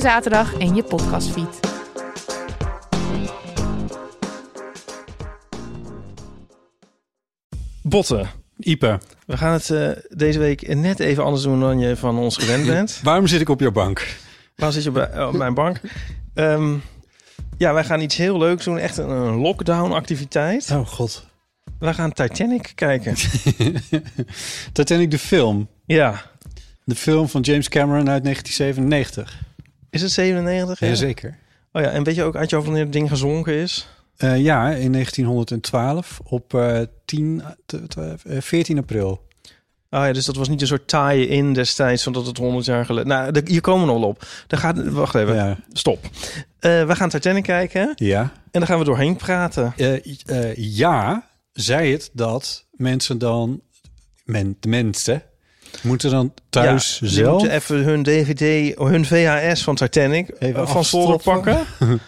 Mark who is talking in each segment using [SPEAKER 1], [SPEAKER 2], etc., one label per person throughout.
[SPEAKER 1] zaterdag in je podcastfeed.
[SPEAKER 2] Botten.
[SPEAKER 3] Ipe,
[SPEAKER 2] We gaan het eh, deze week net even anders doen dan je van ons gewend bent.
[SPEAKER 3] waarom zit ik op jouw bank?
[SPEAKER 2] Waarom zit je op, eh, op mijn bank? Ehm, ja, wij gaan iets heel leuks doen. Echt een, een lockdown-activiteit.
[SPEAKER 3] Oh god.
[SPEAKER 2] We gaan Titanic kijken.
[SPEAKER 3] Titanic de film.
[SPEAKER 2] Ja.
[SPEAKER 3] De film van James Cameron uit 1997.
[SPEAKER 2] Is het 97? Ja?
[SPEAKER 3] Jazeker.
[SPEAKER 2] Oh ja, en weet je ook uit je hoofd wanneer het ding gezonken is?
[SPEAKER 3] Eh, ja, in 1912 op eh 10, t- t- eh, 14 april.
[SPEAKER 2] Oh ja, dus dat was niet een soort taaie in destijds, omdat het 100 jaar geleden... Nou, de- hier komen we nog wel op. Daar gaat... Wacht even,
[SPEAKER 3] Ja.
[SPEAKER 2] stop. Eh, we gaan Titanic kijken en
[SPEAKER 3] ja.
[SPEAKER 2] dan gaan we doorheen praten.
[SPEAKER 3] Eh, i- eh, ja, zei het dat mensen dan, men, de mensen, moeten dan thuis
[SPEAKER 2] Ja, die
[SPEAKER 3] zelf...
[SPEAKER 2] moeten even hun DVD, hun VHS van Titanic
[SPEAKER 3] Even
[SPEAKER 2] eh, van voren
[SPEAKER 3] afstoppen.
[SPEAKER 2] pakken.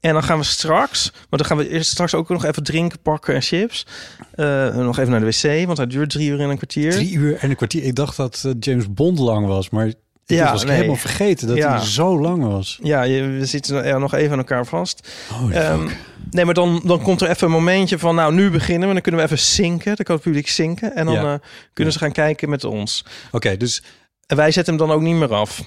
[SPEAKER 2] en dan gaan we straks, maar dan gaan we eerst straks ook nog even drinken pakken en chips. Eh, nog even naar de wc, want hij duurt drie uur en een kwartier.
[SPEAKER 3] Drie uur en een kwartier. Ik dacht dat eh, James Bond lang was, maar ik
[SPEAKER 2] Ja,
[SPEAKER 3] was ik
[SPEAKER 2] nee.
[SPEAKER 3] helemaal vergeten dat
[SPEAKER 2] Ja.
[SPEAKER 3] hij zo lang was.
[SPEAKER 2] Ja, je, we zitten er nog even aan elkaar vast.
[SPEAKER 3] Oh,
[SPEAKER 2] Ehm, nee, maar dan, dan komt er even een momentje van, nou, nu beginnen we. Dan kunnen we even zinken, dan kan het publiek zinken. En dan
[SPEAKER 3] Ja.
[SPEAKER 2] eh, kunnen
[SPEAKER 3] Ja.
[SPEAKER 2] ze gaan kijken met ons.
[SPEAKER 3] Oké, dus
[SPEAKER 2] En wij zetten hem dan ook niet meer af.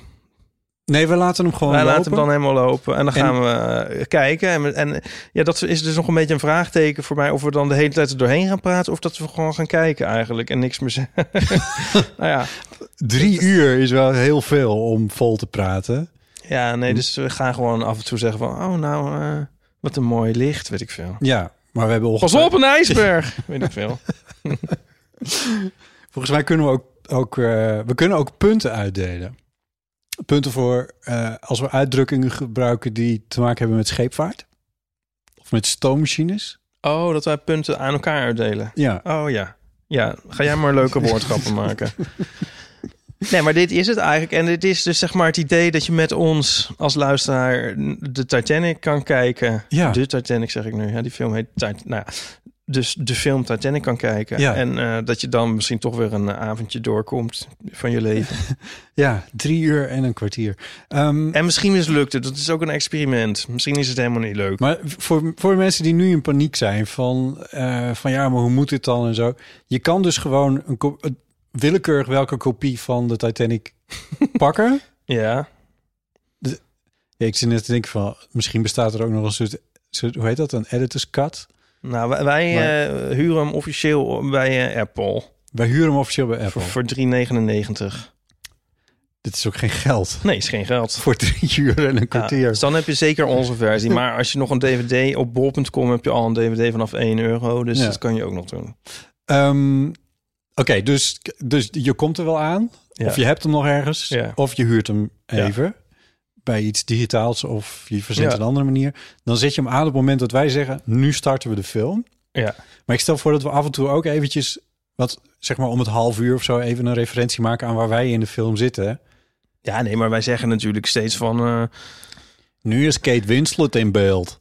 [SPEAKER 3] nee, we laten hem gewoon
[SPEAKER 2] Wij
[SPEAKER 3] lopen.
[SPEAKER 2] laten hem dan helemaal lopen en dan
[SPEAKER 3] En-
[SPEAKER 2] gaan we eh, kijken. En, we- en ja, dat is dus nog een beetje een vraagteken voor mij... of we dan de hele tijd er doorheen gaan praten... of dat we gewoon gaan kijken eigenlijk en niks meer zeggen. nou ja.
[SPEAKER 3] Drie uur is wel heel veel om vol te praten.
[SPEAKER 2] ja, nee, dus we gaan gewoon af en toe zeggen van... oh, nou, eh, wat een mooi licht, weet ik veel.
[SPEAKER 3] Ja, maar we hebben
[SPEAKER 2] Pas
[SPEAKER 3] ongeveer...
[SPEAKER 2] op, een ijsberg, weet ik veel.
[SPEAKER 3] Volgens mij kunnen we ook, ook, eh, we kunnen ook punten uitdelen. Punten voor eh, als we uitdrukkingen gebruiken die te maken hebben met scheepvaart. Of met stoommachines.
[SPEAKER 2] Oh, dat wij punten aan elkaar uitdelen.
[SPEAKER 3] Ja,
[SPEAKER 2] Oh ja. Ja, ga jij maar leuke woordgrappen maken. Nee, maar dit is het eigenlijk. En dit is dus zeg maar het idee dat je met ons als luisteraar de Titanic kan kijken.
[SPEAKER 3] Ja.
[SPEAKER 2] De Titanic zeg ik nu. Ja, die film heet Titanic. Nou, ja, dus de film Titanic kan kijken.
[SPEAKER 3] Ja.
[SPEAKER 2] En eh, dat je dan misschien toch weer een eh, avondje doorkomt van je leven.
[SPEAKER 3] ja drie uur en een kwartier. Ehm,
[SPEAKER 2] En misschien mislukt het. Dat is ook een experiment. Misschien is het helemaal niet leuk.
[SPEAKER 3] Maar voor, voor mensen die nu in paniek zijn van, eh, van ja, maar hoe moet dit dan en zo. Je kan dus gewoon een, ko- een willekeurig welke kopie van de Titanic pakken.
[SPEAKER 2] Ja.
[SPEAKER 3] Ja, ik zit net te denken van, misschien bestaat er ook nog een soort, soort hoe heet dat, een editor's cut.
[SPEAKER 2] Nou, wij, wij,
[SPEAKER 3] Maar-
[SPEAKER 2] eh, huren hem officieel bij eh, Apple.
[SPEAKER 3] Wij huren hem officieel bij Apple.
[SPEAKER 2] Voor, voor 3,99.
[SPEAKER 3] Dit is ook geen geld.
[SPEAKER 2] Nee, is geen geld.
[SPEAKER 3] Voor drie uur en een kwartier.
[SPEAKER 2] Ja, dus dan heb je zeker onze versie. Maar als je nog een DVD op bol.com heb je al een DVD vanaf 1 euro. Dus
[SPEAKER 3] Ja.
[SPEAKER 2] dat kan je ook nog doen.
[SPEAKER 3] Ehm, Oké, dus, dus je komt er wel aan.
[SPEAKER 2] Ja.
[SPEAKER 3] Of je hebt hem nog ergens.
[SPEAKER 2] Ja.
[SPEAKER 3] Of je huurt hem
[SPEAKER 2] Ja.
[SPEAKER 3] even. Bij iets digitaals of je verzint
[SPEAKER 2] Ja.
[SPEAKER 3] een andere manier. Dan zet je hem aan op het moment dat wij zeggen... nu starten we de film.
[SPEAKER 2] Ja.
[SPEAKER 3] Maar ik stel voor dat we af en toe ook eventjes... wat zeg maar om het half uur of zo... even een referentie maken aan waar wij in de film zitten.
[SPEAKER 2] ja, nee, maar wij zeggen natuurlijk steeds van... eh,
[SPEAKER 3] Nu is Kate Winslet in beeld.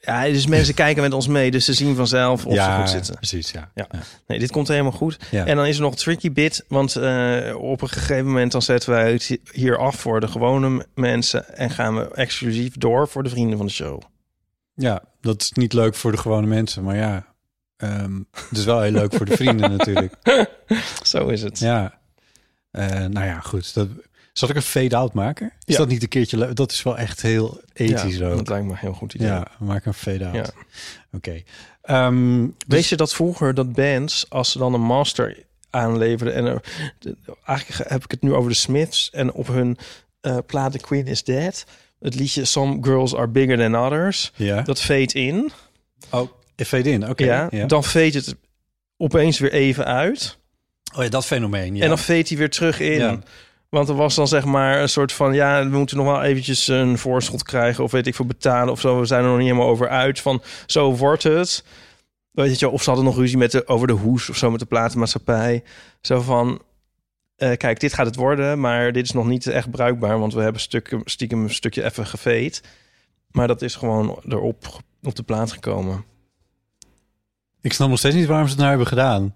[SPEAKER 2] ja, dus mensen kijken met ons mee. Dus ze zien vanzelf of ze goed zitten.
[SPEAKER 3] precies. Ja.
[SPEAKER 2] Ja. Nee, dit komt helemaal goed.
[SPEAKER 3] Ja.
[SPEAKER 2] En dan is er nog een tricky bit. Want eh, op een gegeven moment dan zetten wij het hier af voor de gewone m- mensen. En gaan we exclusief door voor de vrienden van de show.
[SPEAKER 3] Ja, dat is niet leuk voor de gewone mensen. Maar ja, ehm, het is wel heel leuk voor de vrienden natuurlijk.
[SPEAKER 2] Zo is het.
[SPEAKER 3] Ja. Eh, nou ja, goed. Dat, zal ik een fade-out maken? Is
[SPEAKER 2] Ja.
[SPEAKER 3] dat niet een keertje leuk? Dat is wel echt heel ethisch
[SPEAKER 2] Ja,
[SPEAKER 3] ook.
[SPEAKER 2] Dat lijkt me een heel goed idee.
[SPEAKER 3] Ja, maak een fade-out.
[SPEAKER 2] Ja.
[SPEAKER 3] Oké. Ehm, dus-
[SPEAKER 2] Weet je dat vroeger dat bands, als ze dan een master aanleverden... en er- de- eigenlijk ge- heb ik het nu over de Smiths... en op hun eh plaat The Queen Is Dead... het liedje Some Girls Are Bigger Than Others...
[SPEAKER 3] ja.
[SPEAKER 2] dat fade in,
[SPEAKER 3] oh, fade in. Oké.
[SPEAKER 2] ja,
[SPEAKER 3] ja.
[SPEAKER 2] dan fade het opeens weer even uit...
[SPEAKER 3] oh ja, dat fenomeen. Ja.
[SPEAKER 2] en dan fade hij weer terug in...
[SPEAKER 3] Ja.
[SPEAKER 2] Want er was dan zeg maar een soort van... ja, we moeten nog wel eventjes een voorschot krijgen... of weet ik veel, betalen of zo. We zijn er nog niet helemaal over uit van zo wordt het. Weet je, wel, of ze hadden nog ruzie met de, over de hoes of zo... met de platenmaatschappij. Zo van... eh, kijk, dit gaat het worden, maar dit is nog niet echt bruikbaar... want we hebben stukken, stiekem een stukje even geveed. Maar dat is gewoon erop ge- op de plaat gekomen.
[SPEAKER 3] Ik snap nog steeds niet waarom ze het nou hebben gedaan.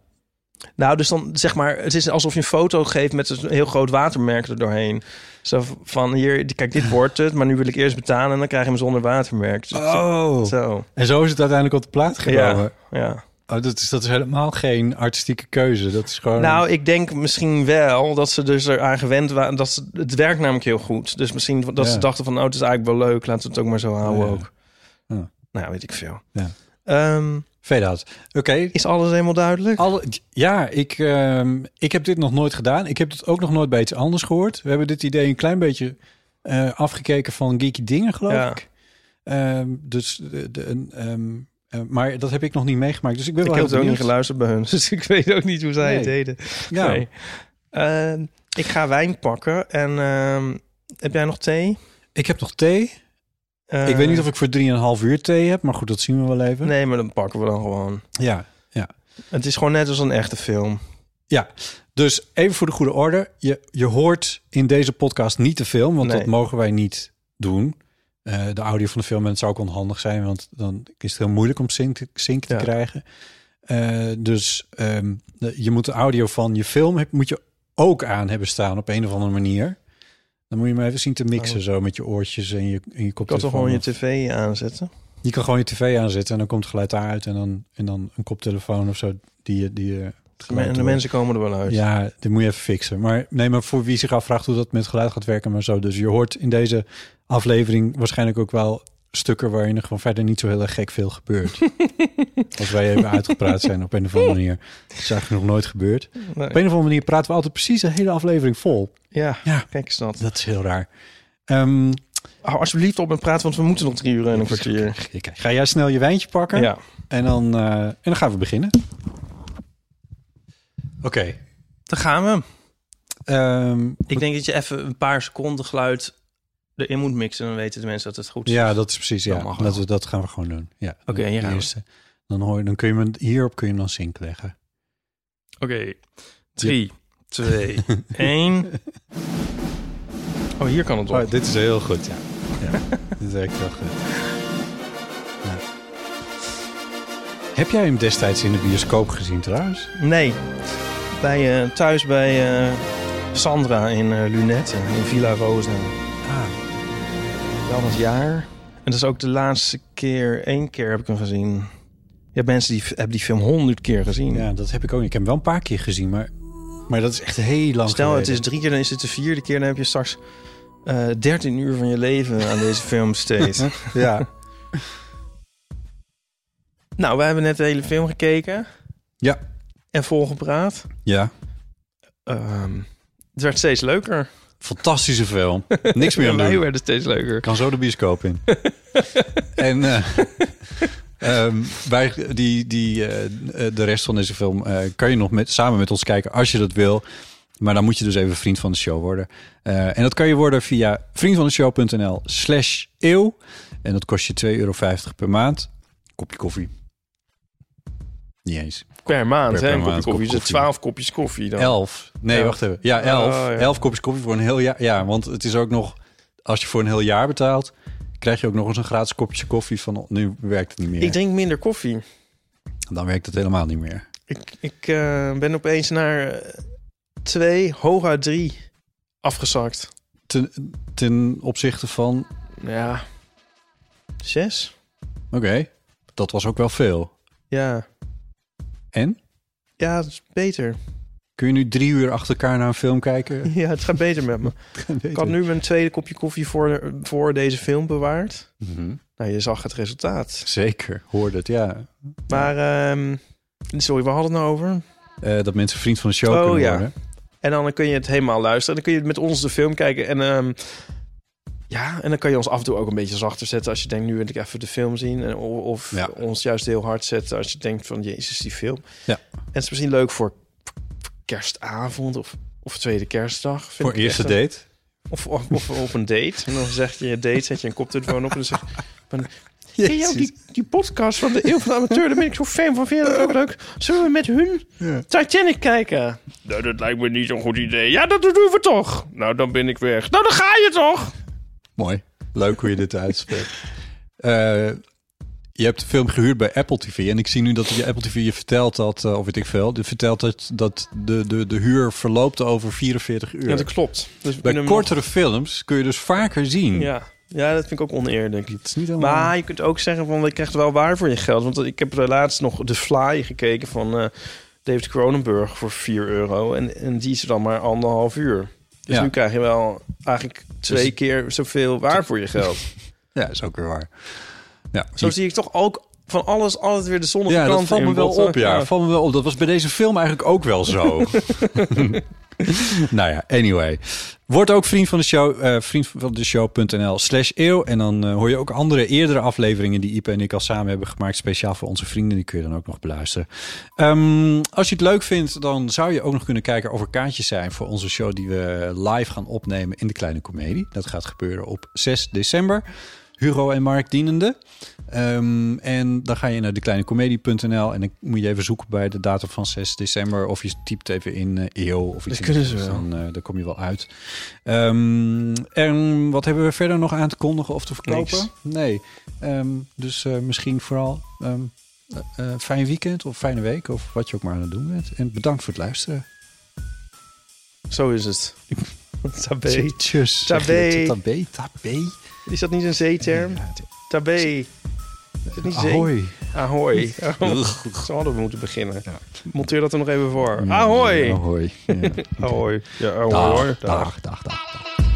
[SPEAKER 2] Nou, dus dan zeg maar, het is alsof je een foto geeft met een heel groot watermerk er doorheen. Zo van hier, kijk, dit wordt het, maar nu wil ik eerst betalen en dan krijg je hem zonder watermerk. Dus
[SPEAKER 3] Oh.
[SPEAKER 2] Zo,
[SPEAKER 3] En zo is het uiteindelijk op de plaat gekomen.
[SPEAKER 2] ja.
[SPEAKER 3] Oh, dat, is, dat is helemaal geen artistieke keuze. Dat is gewoon...
[SPEAKER 2] Nou, ik denk misschien wel dat ze dus eraan gewend waren. Dat ze, het werkt namelijk heel goed. Dus misschien dat
[SPEAKER 3] Ja.
[SPEAKER 2] ze dachten van, oh, het is eigenlijk wel leuk. Laten we het ook maar zo houden
[SPEAKER 3] Ja.
[SPEAKER 2] ook.
[SPEAKER 3] Ja.
[SPEAKER 2] Nou, weet ik veel.
[SPEAKER 3] Ja.
[SPEAKER 2] Ehm,
[SPEAKER 3] Fade-out. Oké.
[SPEAKER 2] is alles helemaal duidelijk?
[SPEAKER 3] Alle- ja, ik, ehm, ik heb dit nog nooit gedaan. Ik heb dit ook nog nooit bij iets anders gehoord. We hebben dit idee een klein beetje eh, afgekeken van geeky dingen, geloof
[SPEAKER 2] Ja.
[SPEAKER 3] ik. Ehm, dus, de, de- een, ehm, eh, maar dat heb ik nog niet meegemaakt. Dus ik ben
[SPEAKER 2] ik
[SPEAKER 3] wel
[SPEAKER 2] heb
[SPEAKER 3] heel
[SPEAKER 2] het ook niet
[SPEAKER 3] benieuwd.
[SPEAKER 2] geluisterd bij hun, dus ik weet ook niet hoe zij het
[SPEAKER 3] Nee.
[SPEAKER 2] deden.
[SPEAKER 3] Ja.
[SPEAKER 2] Nee. Ehm, ik ga wijn pakken en ehm, heb jij nog thee?
[SPEAKER 3] Ik heb nog thee.
[SPEAKER 2] Eh,
[SPEAKER 3] ik weet niet of ik voor drieënhalf uur thee heb, maar goed, dat zien we wel even.
[SPEAKER 2] Ehm, Nee, maar dan pakken we dan gewoon.
[SPEAKER 3] Ja.
[SPEAKER 2] Het is gewoon net als een echte film.
[SPEAKER 3] Dus even voor de goede orde. Je, je hoort in deze podcast niet de film, want
[SPEAKER 2] Nee.
[SPEAKER 3] dat mogen wij niet doen. Eh, de audio van de film, en het zou ook onhandig zijn, want dan is het heel moeilijk om sync te, sync te
[SPEAKER 2] Ja.
[SPEAKER 3] krijgen. Eh, dus ehm, de- je moet de audio van je film heb, moet je ook aan hebben staan op een of andere manier. Dan moet je maar even zien te mixen
[SPEAKER 2] Oh.
[SPEAKER 3] zo met je oortjes en je, en je
[SPEAKER 2] Ik kan
[SPEAKER 3] koptelefoon.
[SPEAKER 2] toch gewoon je
[SPEAKER 3] of-
[SPEAKER 2] tv aanzetten?
[SPEAKER 3] je kan gewoon je tv aanzetten en dan komt het geluid daaruit en dan, en dan een koptelefoon of zo die je... Die je het geluid
[SPEAKER 2] En de
[SPEAKER 3] hoort.
[SPEAKER 2] mensen komen er wel uit.
[SPEAKER 3] Ja, dit moet je even fixen. Maar nee, maar voor wie zich afvraagt hoe dat met geluid gaat werken, maar zo. Dus je hoort in deze aflevering waarschijnlijk ook wel stukken waarin er gewoon verder niet zo heel erg gek veel gebeurt. Als wij even uitgepraat zijn op een of andere manier. Dat is eigenlijk nog nooit gebeurd. Op
[SPEAKER 2] Nee.
[SPEAKER 3] een of andere manier praten we altijd precies de hele aflevering vol.
[SPEAKER 2] Ja,
[SPEAKER 3] Ja.
[SPEAKER 2] kijk eens dat.
[SPEAKER 3] Dat is heel raar. Ehm,
[SPEAKER 2] Hou alsjeblieft op en praat, want we moeten nog drie uur en een kwartier.
[SPEAKER 3] ik- ga jij snel je wijntje pakken
[SPEAKER 2] Ja.
[SPEAKER 3] en, dan, eh, en dan gaan we beginnen. Oké.
[SPEAKER 2] Dan gaan we.
[SPEAKER 3] ehm,
[SPEAKER 2] Ik denk dat je even een paar seconden geluid erin moet mixen. Dan weten de mensen dat het goed is.
[SPEAKER 3] Ja, dat is precies.
[SPEAKER 2] Dat
[SPEAKER 3] Ja.
[SPEAKER 2] mag
[SPEAKER 3] Dat,
[SPEAKER 2] wel.
[SPEAKER 3] we, dat gaan we gewoon doen. Ja.
[SPEAKER 2] Oké, hier
[SPEAKER 3] De
[SPEAKER 2] gaan we.
[SPEAKER 3] eerste. Dan, hoor je, dan kun je hem, hierop kun je hem dan zink leggen.
[SPEAKER 2] Oké. Drie, twee, één. Oh, hier kan het op.
[SPEAKER 3] dit is heel goed, ja. dit werkt heel goed. Ja. Heb jij hem destijds in de bioscoop gezien trouwens?
[SPEAKER 2] Nee, bij, eh, thuis bij eh, Sandra in eh Lunette, in Villa Rosa.
[SPEAKER 3] Ah,
[SPEAKER 2] Wel dat jaar. En dat is ook de laatste keer, één keer heb ik hem gezien. Je hebt mensen die f- hebben die film honderd keer gezien.
[SPEAKER 3] ja, dat heb ik ook. niet. Ik heb hem wel een paar keer gezien, maar, maar dat is echt heel lang
[SPEAKER 2] Stel, het
[SPEAKER 3] geleden.
[SPEAKER 2] is drie keer, dan is het de vierde keer. Dan heb je straks eh, dertien 13 uur van je leven aan deze film besteed.
[SPEAKER 3] Ja.
[SPEAKER 2] nou, we hebben net de hele film gekeken.
[SPEAKER 3] Ja.
[SPEAKER 2] En volgepraat.
[SPEAKER 3] ja,
[SPEAKER 2] Ehm, het werd steeds leuker.
[SPEAKER 3] fantastische film. Niks meer aan
[SPEAKER 2] wij
[SPEAKER 3] doen.
[SPEAKER 2] werden steeds leuker.
[SPEAKER 3] Ik kan zo de bioscoop in. en eh, ehm, wij, die, die, eh, eh, de rest van deze film eh, kan je nog met, samen met ons kijken als je dat wil. Maar dan moet je dus even vriend van de show worden. Eh, en dat kan je worden via vriendvandeshow.nl slash eeuw. En dat kost je 2,50 euro per maand. Kopje koffie. Niet eens.
[SPEAKER 2] Per maand,
[SPEAKER 3] Per-
[SPEAKER 2] hè?
[SPEAKER 3] per
[SPEAKER 2] Een kopje
[SPEAKER 3] maand,
[SPEAKER 2] koffie.
[SPEAKER 3] kop
[SPEAKER 2] Dus
[SPEAKER 3] koffie.
[SPEAKER 2] twaalf kopjes koffie dan.
[SPEAKER 3] Elf. Nee,
[SPEAKER 2] Elf.
[SPEAKER 3] wacht even. Ja, elf.
[SPEAKER 2] Oh, ja.
[SPEAKER 3] Elf kopjes koffie voor een heel jaar. Ja, want het is ook nog... Als je voor een heel jaar betaalt... krijg je ook nog eens een gratis kopje koffie van... Nu werkt het niet meer.
[SPEAKER 2] Ik drink minder koffie.
[SPEAKER 3] Dan werkt het helemaal niet meer.
[SPEAKER 2] Ik, ik eh, ben opeens naar eh, twee, hooguit drie afgezakt.
[SPEAKER 3] Ten, ten opzichte van...
[SPEAKER 2] Ja. Zes?
[SPEAKER 3] Oké, dat was ook wel veel.
[SPEAKER 2] Ja.
[SPEAKER 3] En?
[SPEAKER 2] Ja, het is beter.
[SPEAKER 3] Kun je nu drie uur achter elkaar naar een film kijken?
[SPEAKER 2] Ja, het gaat beter met me.
[SPEAKER 3] Weet
[SPEAKER 2] Ik had
[SPEAKER 3] het.
[SPEAKER 2] nu mijn tweede kopje koffie voor, voor deze film bewaard.
[SPEAKER 3] Mhm.
[SPEAKER 2] Nou, je zag het resultaat.
[SPEAKER 3] Zeker, hoorde het, ja.
[SPEAKER 2] Maar, ehm, sorry, waar hadden we het nou over?
[SPEAKER 3] Eh, dat mensen vriend van de show
[SPEAKER 2] Oh,
[SPEAKER 3] kunnen
[SPEAKER 2] ja.
[SPEAKER 3] worden.
[SPEAKER 2] En dan kun je het helemaal luisteren. Dan kun je met ons de film kijken. En ehm, ja, en dan kan je ons af en toe ook een beetje zachter zetten als je denkt, nu wil ik even de film zien. En, o- of
[SPEAKER 3] Ja.
[SPEAKER 2] ons juist heel hard zetten als je denkt van, jezus, die film.
[SPEAKER 3] Ja.
[SPEAKER 2] En het is misschien leuk voor, voor kerstavond of, of Of tweede kerstdag. Vind
[SPEAKER 3] Voor
[SPEAKER 2] ik
[SPEAKER 3] eerste
[SPEAKER 2] echt eh, een-
[SPEAKER 3] date.
[SPEAKER 2] Of, of, of op een date. En dan zeg je je date, zet je een koptelefoon op en dan zeg je... van, Ken je ook die, die podcast van de Eeuw van de Amateur? Daar ben ik zo fan van. Vind je dat ook leuk? Zullen we met hun
[SPEAKER 3] Ja.
[SPEAKER 2] Titanic kijken? Nou, dat lijkt me niet zo'n goed idee. Ja, dat doen we toch? Nou, dan ben ik weg. Nou, dan ga je toch?
[SPEAKER 3] Mooi. Leuk hoe je dit uitspreekt. Eh, je hebt de film gehuurd bij Apple TV. En ik zie nu dat je Apple TV je vertelt dat, eh, of weet ik veel, die vertelt dat, dat de, de, de huur verloopt over 44 uur.
[SPEAKER 2] Ja, dat klopt. Dus we
[SPEAKER 3] bij
[SPEAKER 2] kunnen hem
[SPEAKER 3] kortere films kun je dus vaker zien.
[SPEAKER 2] nog- Ja. ja, dat vind ik ook oneerlijk.
[SPEAKER 3] Het is niet helemaal...
[SPEAKER 2] Maar je kunt ook zeggen van je krijgt wel waar voor je geld. Want ik heb er laatst nog The Fly gekeken van eh, David Cronenberg voor 4 euro. En, en die is er dan maar anderhalf uur. Dus
[SPEAKER 3] Ja.
[SPEAKER 2] nu krijg je wel eigenlijk twee
[SPEAKER 3] Dus-
[SPEAKER 2] keer zoveel waar voor je geld.
[SPEAKER 3] Ja, is ook weer waar. Ja,
[SPEAKER 2] Zo zie ik toch ook van alles altijd weer de zonnige
[SPEAKER 3] ja
[SPEAKER 2] kant
[SPEAKER 3] dat valt
[SPEAKER 2] in eh,
[SPEAKER 3] me wel
[SPEAKER 2] botten.
[SPEAKER 3] op. Ja, Valt me wel op. Dat was bij deze film eigenlijk ook wel zo. nou ja, anyway. Word ook vriend van de show. eh vriend van de show.nl slash eeuw. En dan eh, hoor je ook andere eerdere afleveringen die Ipe en ik al samen hebben gemaakt. Speciaal voor onze vrienden. Die kun je dan ook nog beluisteren. Ehm, als je het leuk vindt, dan zou je ook nog kunnen kijken of er kaartjes zijn voor onze show die we live gaan opnemen in de Kleine Comedie. Dat gaat gebeuren op 6 december. Hugo en Mark dienende. Ehm, en dan ga je naar dekleinecomedie.nl en dan moet je even zoeken bij de datum van 6 december. Of je typt even in eh, eeuw of iets.
[SPEAKER 2] Dat kunnen
[SPEAKER 3] in die
[SPEAKER 2] ze
[SPEAKER 3] geest.
[SPEAKER 2] wel.
[SPEAKER 3] Dan, eh, daar kom je wel uit. Ehm, en wat hebben we verder nog aan te kondigen of te verkopen?
[SPEAKER 2] Niks.
[SPEAKER 3] Nee. Ehm, dus eh, misschien vooral ehm, eh, eh, fijn weekend of fijne week of wat je ook maar aan het doen bent. En bedankt voor het luisteren.
[SPEAKER 2] Zo is het. Tabé.
[SPEAKER 3] Tjus. Zeg je dat? Tabé. Tabé.
[SPEAKER 2] Is dat niet een zeeterm?
[SPEAKER 3] Ja,
[SPEAKER 2] Tabé. Is het niet zee?
[SPEAKER 3] Ahoy.
[SPEAKER 2] Ahoy. Zo hadden we moeten beginnen.
[SPEAKER 3] Ja.
[SPEAKER 2] Monteer dat er nog even voor. Ahoy.
[SPEAKER 3] Ahoy. Ja.
[SPEAKER 2] Ahoy. Ja, ahoy.
[SPEAKER 3] Dag,
[SPEAKER 2] hoor.
[SPEAKER 3] dag, dag, dag. dag.